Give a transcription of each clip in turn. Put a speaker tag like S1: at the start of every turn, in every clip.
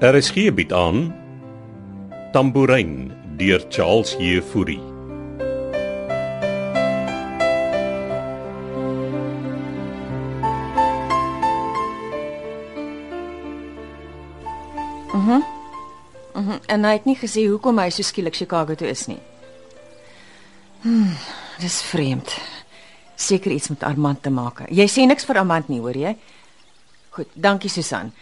S1: RSG bied Er aan Tambourin deur Charles Jefouri.
S2: En hy het nie gesê hoekom hy so skielik Chicago toe is nie. Hm, dis vreemd. Seker iets met Armand te maak. Jy sê niks vir Armand nie, hoor jy? Goed, dankie Susan.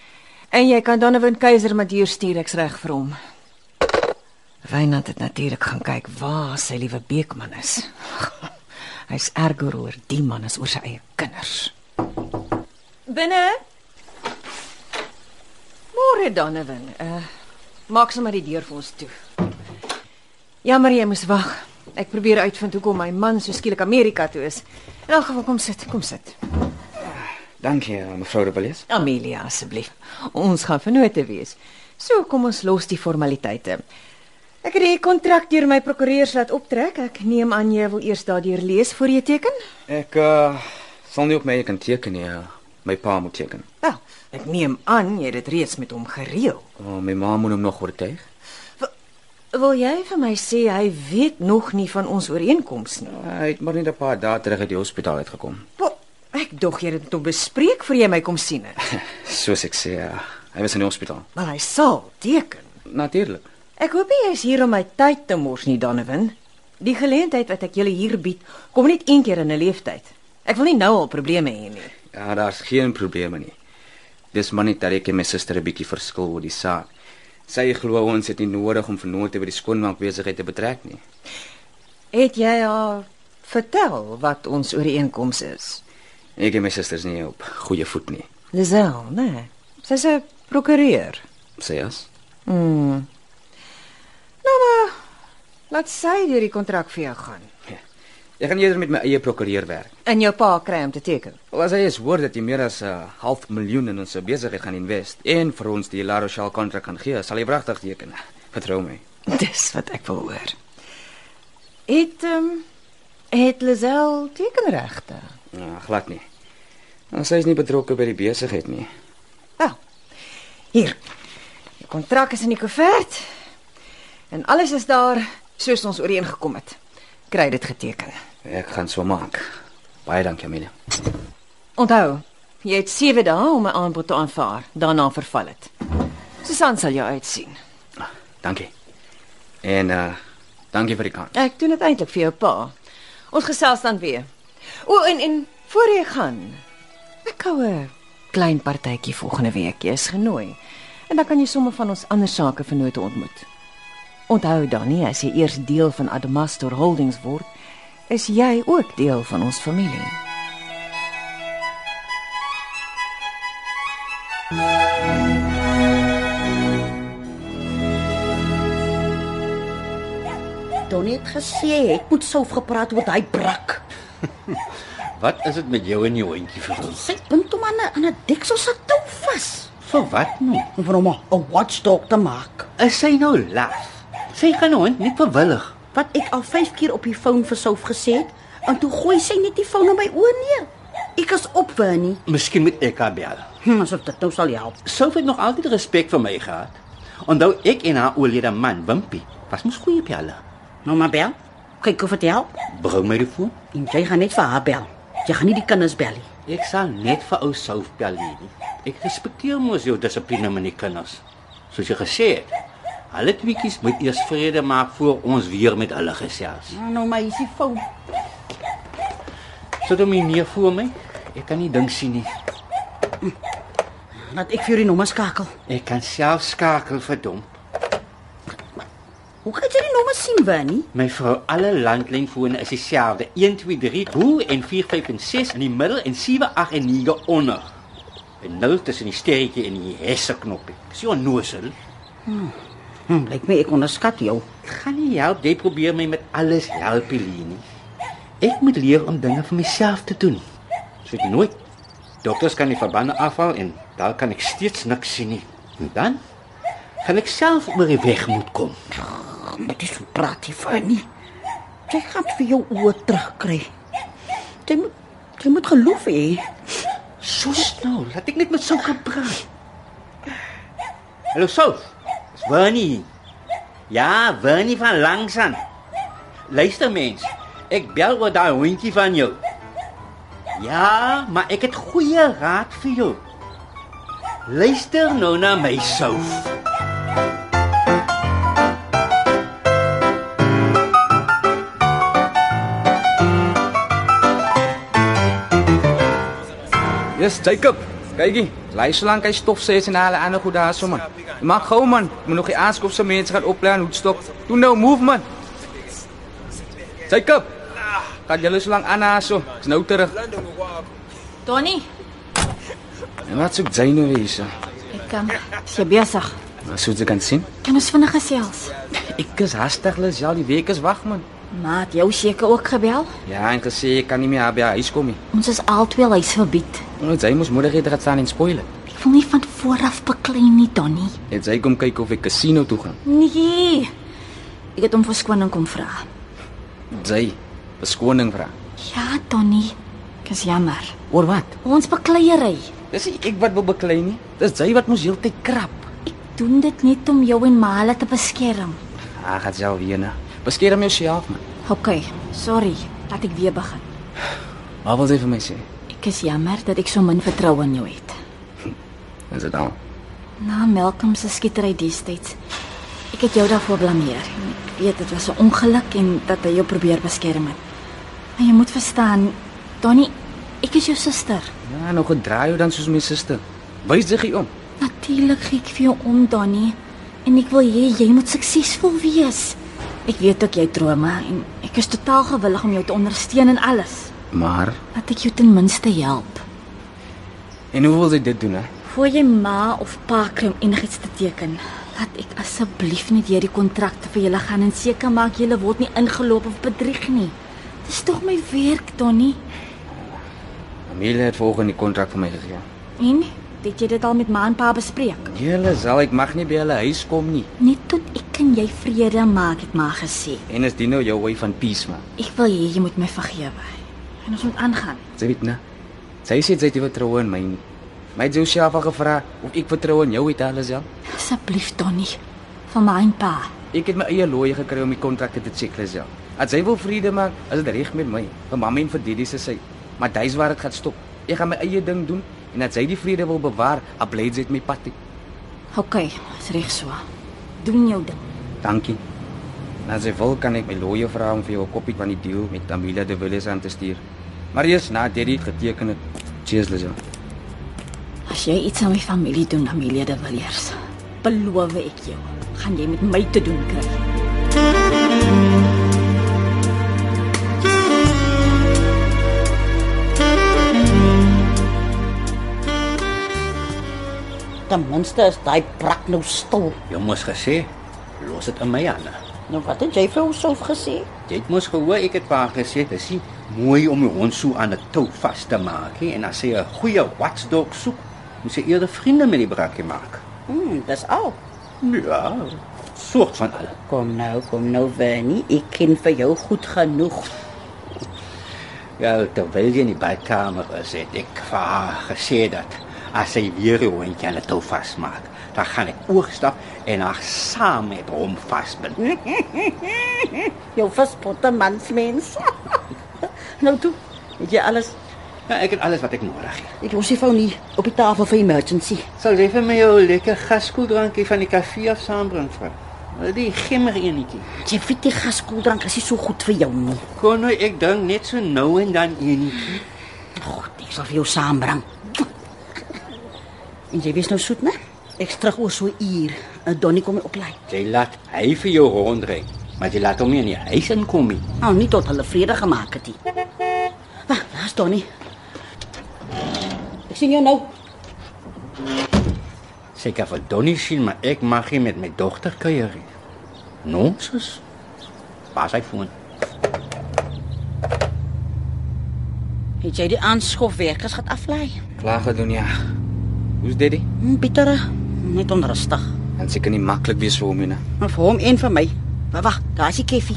S2: En jy kan Donovan Keiser met hier stuur ek's reg vir hom. Wynand het natuurlik gaan kyk waar sy liewe Beekman is. Hy's erger oor die man as oor sy eie kinders. Binne. Môre Donovan. Uh Maak sommer die deur vir ons toe. Jammer jy moes wag. Ek probeer uitvind hoekom my man so skielik Amerika toe is. In elk geval kom sit, kom sit.
S3: Dankie, eh, mevrou de Villiers.
S2: Amelia asseblief. Ons gaan vennote wees. So kom ons los die formaliteite. Ek het die kontrak deur my prokureurs laat optrek. Ek neem aan jy wil eers daardeur lees voor jy teken?
S3: Ek uh sal nie op my eie kan teken nie. Uh, my pa moet teken.
S2: Wel, ek neem aan jy het dit reeds met hom gereël.
S3: Uh, my ma moet hom nog oortuig.
S2: Wil jy vir my sê hy weet nog nie van ons ooreenkoms nie?
S3: Uh, hy het maar net 'n paar dae terug uit die hospitaal uitgekom.
S2: Wel, ek dog jy het dit met hom bespreek voor jy my kom sien het.
S3: Soos ek sê, uh, hy was in die hospitaal.
S2: Maar hy sal teken.
S3: Natuurlik.
S2: Ek hoop nie jy is hier om my tyd te mors nie, Donovan. Die geleentheid wat ek julle hier bied, kom net een keer in 'n lewenstyd. Ek wil nie nou al probleme hê nie.
S3: Ja, daar's geen probleme nie. Dis maar net dat ek en my suster 'n bietjie verskil oor die saak. Sy glo ons het nie nodig om vernote by die skoonmaakbesigheid te betrek nie.
S2: Het jy haar vertel wat ons ooreenkoms is?
S3: Ek en my susters nie op goeie voet nie.
S2: Lisel, né? Sy's 'n prokureur.
S3: Sê as?
S2: Mm. Nou maar, laat sy deur die kontrak vir jou gaan.
S3: Ja. Ek gaan eerder met my eie prokureur werk.
S2: En jou pa kry om te teken.
S3: Wel, As hy is hoor dat jy meer as 'n uh, half miljoen in ons besigheid gaan invest en vir ons die La Rochelle kontrak gaan gee, sal hy pragtig teken. Vertrou my.
S2: Dis wat ek wil hoor. Het ehm um, het Lisel tekenregte?
S3: Ja, glad nie. Nou, sy is nie betrokke by die besigheid nie.
S2: Wel. Hier. Die kontrak is in die koevert. En alles is daar soos ons ooreengekom het. Kry dit geteken.
S3: Ek gaan so maak. Baie dankie, Amelia.
S2: Onthou, jy het 7 dae om 'n aanbod te aanvaar, daarna verval dit. Susan sal jou uitsien.
S3: Ah, Dankie. En uh dankie vir die kans.
S2: Ek doen dit eintlik vir jou pa. Ons gesels dan weer. O en en voor jy gaan, ek hou 'n klein partytjie volgende week. Jy is genooi. En dan kan jy sommer van ons ander sake vennote ontmoet. Onthou dan nie as jy eers deel van Adamastor Holdings word, is jy ook deel van ons familie.
S4: Donnie het gesê ek moet sou gepraat oor daai brak.
S5: Wat is dit met jou en die hondjie vir ons?
S4: Sy bind hom aan 'n aan 'n deksel se tou vas
S5: Vir wat nou?
S4: om vir hom 'n watchdog te maak.
S5: Is sy nou laf? Sy nou kan die hond nie verwillig.
S4: Wat ek al 5 keer op die foon vir Souf gesê het, en toe gooi sy net die foon in my oë neer. Ek is op Winnie.
S5: Miskien moet ek haar bel.
S4: Hm, asof dit nou sal help.
S5: Sou het nog altyd respek vir my gehad. Onthou ek en haar oorlede man, Wimpy, was mos goeie pelle.
S4: Nou maar bel. Kyk of dit help.
S5: Bring my die foon.
S4: En jy gaan net vir haar bel. Jy gaan nie die kinders bel nie.
S5: Ek sal net vir ou Souf bel nie. Ek respekteer mos jou dissipline met die kinders. Soos jy gesê het, hulle tweeetjies moet eers vrede maak voor ons weer met hulle gesels.
S4: Nou, Nou maar is die foon.
S5: Sit hom hier neer voor my. Ek kan nie ding sien nie.
S4: Laat ek vir jou die nommer skakel.
S5: Ek kan self skakel vir hom.
S4: Hoe kan jy die nommer sien, Winnie?
S5: My vrou, alle landlynfone is dieselfde. 1 2 3 bo en 4 5 en 6 in die middel en 7 8 en 9 onder. En nou tussen die sterretjie en die hesseknoppie. Dis jou nosel.
S4: Hm, lyk my ek onderskat jou.
S5: Dit gaan nie help jy probeer my met alles help Helene. Ek moet leer om dinge vir myself te doen. So ek nooit dokters kan die verbande afhaal en daar kan ek steeds niks sien nie. En dan gaan ek self oor die weg moet kom.
S4: Dit is hoe praat jy van nie. Jy gaan vir jou oë terugkry. Jy moet jy moet geloof hê.
S5: Sus nou, laat ek net met sulke praat.
S6: Hallo Souf. Dis Winnie. Ja, Winnie van Langsan. Luister mens, ek bel oor daai hondjie van jou. Ja, maar ek het goeie raad vir jou. Luister nou na my Souf.
S5: Yes, Jacob. Kykie, lei so lank hy stof sê en hulle ander goed daar sommer. Maak gou man, moet nog die aanskoop se mense gaan oplaai en hoedstok. Doen nou move man. Jacob. Kan julle so lank aan daar so. Dis nou terug.
S2: Tony,
S5: En wat soek jy nou hier?
S4: Ek um, is jy besig?
S5: Wat soek jy kan sien?
S4: Kan ons vinnig gesels?
S5: Ek is hastig, les al die week is wag man.
S4: Maat, jou seker ook gebel?
S5: Ja, en gesê ek kan nie meer by haar huis kom nie.
S4: Ons is albei huis verbied.
S5: Ons jy Nou, moes moeder het gaan staan en spoil.
S4: Ek wil nie van vooraf beklei nie, Donnie.
S5: Het sy kom kyk of ek casino toe gaan.
S4: Nee. Ek het hom verskoning kom vra.
S5: Jy beskoning vra.
S4: Ja, Donnie. Ek is jammer.
S5: Oor wat?
S4: Ons bekleierery.
S5: Dis nie ek wat wil beklei nie. Dis jy wat mos heeltyd krap.
S4: Ek doen dit net om jou en Mala te beskerm.
S5: Ah, gaan self weer na. Beskerm jouself man.
S4: OK, sorry dat ek weer begin.
S5: Wat wil jy vir my sê?
S4: Ek is jammer dat ek so min vertroue in jou het.
S5: Is dit al?
S4: Na Melkom se skietery destyds. Ek het jou daarvoor blameer. en Ek weet dit was 'n ongeluk en dat hy jou probeer beskerm het. Maar jy moet verstaan, Donnie, ek is jou suster.
S5: Ja, nou gedraai jou dan soos my suster. Wys jy om.
S4: Natuurlik gee ek vir jou om, Donnie, en ek wil hê jy moet suksesvol wees. Ek weet ook jy het drome en ek is totaal gewillig om jou te ondersteun in alles.
S5: Maar
S4: Laat ek jou ten minste help.
S5: en hoe wil jy dit doen hè?
S4: Voor jy ma of pa kry om enigiets te teken, laat ek asseblief net hierdie kontrakte vir julle gaan en seker maak julle word nie ingeloop of bedrieg nie. Dis tog my werk, Donnie.
S5: Amelia het volgens die kontrak vir my gegee.
S4: En het jy dit al met ma en pa bespreek?
S5: Julle sal ek mag nie by hulle huis kom nie.
S4: Net tot ek en jy vrede maak, het ma gesê.
S5: En is dit nou jou way van peace man?
S4: Ek wil hê jy moet my vergewe. En ons moet aangaan.
S5: Jy weet na. Sy sê jy het nie vertroue in my nie. My het jou self al gevra of ek vertroue in jou het alles ja.
S4: Asseblief, Donnie, vir my en pa.
S5: Ek het my eie looie gekry om die kontrakte te check les ja. As jy wil vrede maak, is dit reg met my. Vir mamma en vir Didi se sy. Maar dis waar dit gaan stop. Ek gaan my eie ding doen en as jy die vrede wil bewaar, ablades het my pad. Toe.
S4: OK, is reg so. Doen jou ding.
S5: Dankie. En as jy wil kan ek my lawyer vra om vir jou 'n koppie van die deal met Amila de Villiers aan te stuur. Maar eers na dit het geteken het. Cheers Lizel.
S4: As jy iets aan my familie doen, Amelia de Villiers, beloof ek jou, gaan jy met my te doen kry.
S7: Ten minste is daai prak nou stil.
S6: Jy moes gesê, los dit in my hande.
S7: Nou wat het jy vir jouself gesê?
S6: Jy het mos gehoor ek het vir gesê dis nie mooi om jou hond so aan 'n tou vas te maak nie en as jy 'n goeie watchdog soek, moet jy eerder vriende met die brakkie maak.
S7: Hm, dis al.
S6: Ja, soort van al.
S7: Kom nou, kom nou Winnie, ek ken vir jou goed genoeg.
S6: Ja, terwyl jy in die badkamer is, het ek vir haar gesê dat as sy weer jou hondjie aan 'n tou vasmaak, dan gaan ek oogstap en haar saam met hom vasbind.
S7: Jou verspotte mansmens. nou toe, het jy alles
S6: Ja, ek het alles wat ek nodig het.
S7: Ek los die foon nie op die tafel vir emergency.
S6: Sal jy vir my jou lekker gaskoeldrankie van die kafee af saambring, vrou? Die gimmer enetjie.
S7: Jy weet die gaskooldrank is nie so goed vir jou nie.
S6: Kon nou ek dink net so nou en dan een.
S7: God, ek sal vir jou saambring. En jy weet nou soet, né? Ek's terug oor so 'n uur. En Donnie kom my oplaai.
S6: Jy laat hy vir jou rondry, maar jy laat hom nie in die huis inkom nie.
S7: Nou nie tot hulle vrede gemaak het nie. Wag, daar's Donnie. Ek sien jou nou.
S6: Sy kan vir Donnie sien, Nee, maar ek mag nie met my dogter kuier nie. Nonsens. Waar sy foon?
S7: Het jy die aanskofwerkers gaan aflaai?
S5: Klaar gedoen ja. Hoe's Didi?
S7: Hm, bittere, net onrustig.
S5: En seker nie maklik wees vir hom nie.
S7: Maar vir hom en vir my. Maar wag, daar's die keffie.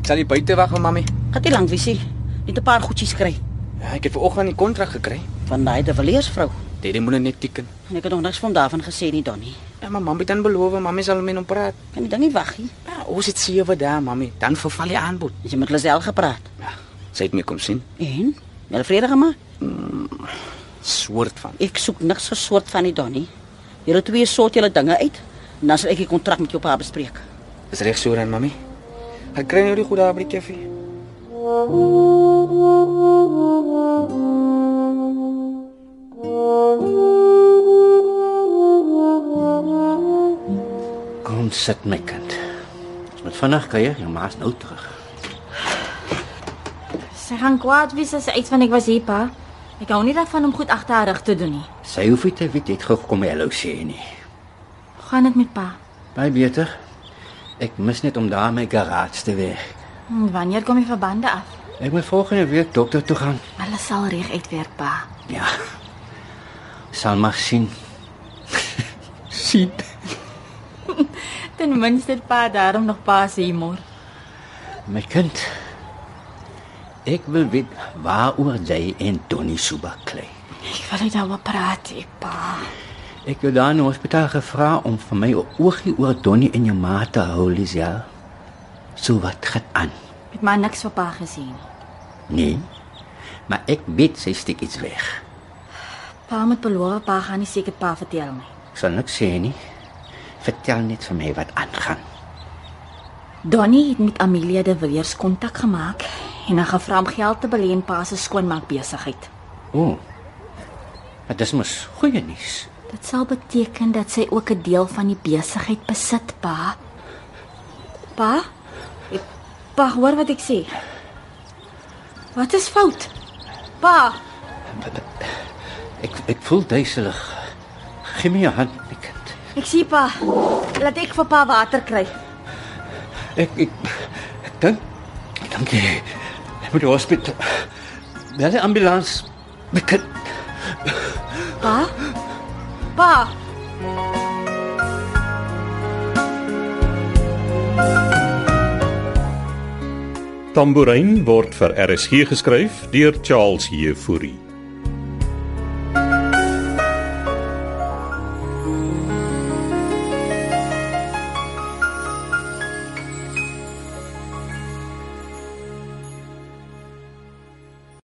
S5: Ek sal hier buite wag vir mammy.
S7: Gaan dit lank wees nie. Net 'n paar goedjies kry
S5: Ja, ek het vanoggend die kontrak gekry.
S7: van daai de Villiers vrou.
S5: Daddy moet nou net teken.
S8: En ek het nog niks van daarvan gesê nie, Donnie.
S5: Ja, maar mami dan beloof, mami sal met hom praat.
S8: Kan jy dan nie wag nie?
S5: Ja, ons het sewe dae, mami, dan verval die aanbod. Ja,
S8: As jy met Lisel gepraat.
S5: Sy het my kom sien.
S8: En? Wel vrede gemaak?
S5: Soort van.
S8: Ek soek niks so soort van nie, Donnie. Julle twee sort julle dinge uit en dan sal ek die kontrak met jou pa bespreek.
S5: Is reg so dan, mami? Ek kry nou die goeie daar by die koffie.
S6: Kom sit my kind. Ons moet vinnig kuier, jou ma's nou terug.
S4: Sy gaan kwaad wees as sy uit van ek was hier, pa. Ek hou nie daarvan om goed agter haar rug te doen nie.
S6: Sy hoef nie te weet jy het gekom hello sê nie.
S4: Hoe gaan dit met pa?
S6: Baie beter. Ek mis net om daar in my garage te werk.
S4: En Hm, wanneer kom die verbande af?
S6: Ek moet volgende week dokter toe gaan.
S4: Alles sal reg uitwerk, pa.
S6: Ja. Sal maar sien. sien.
S4: Ten minste het pa daarom nog pa se humor.
S6: My kind. Ek wil weet waaroor jy en Donnie Suba klei.
S4: Ek wil nie daaroor praat, nie, pa.
S6: Ek het daar in die hospitaal gevra om vir my 'n oogie oor Donnie en jou ma te hou, Lisel. So wat gaan aan?
S4: Ek het maar niks van pa gesien nie.
S6: Nee. Maar ek weet sy steek iets weg.
S4: Pa moet beloof pa gaan nie seker pa vertel nie.
S6: Ek sal niks sê nie. Vertel net vir my wat aangaan.
S4: Donnie het met Amelia de Villiers kontak gemaak en haar gevra om geld te belê in pa se skoonmaak besigheid.
S6: O. Maar dis mos goeie nuus.
S4: Dit sal beteken dat sy ook 'n deel van die besigheid besit, pa. Pa? Ek- Pa, hoor wat ek sê. Wat is fout? Pa,
S6: Ek ek voel duiselig. Gee my jou hand, my kind.
S4: ek sê pa, laat ek vir pa water kry.
S6: Ek ek ek dink ek dink jy ek moet hospitaal. Bel die ambulans. My kind.
S4: Pa? Pa.
S1: Tambourin word vir RSG geskryf deur Charles Heffury.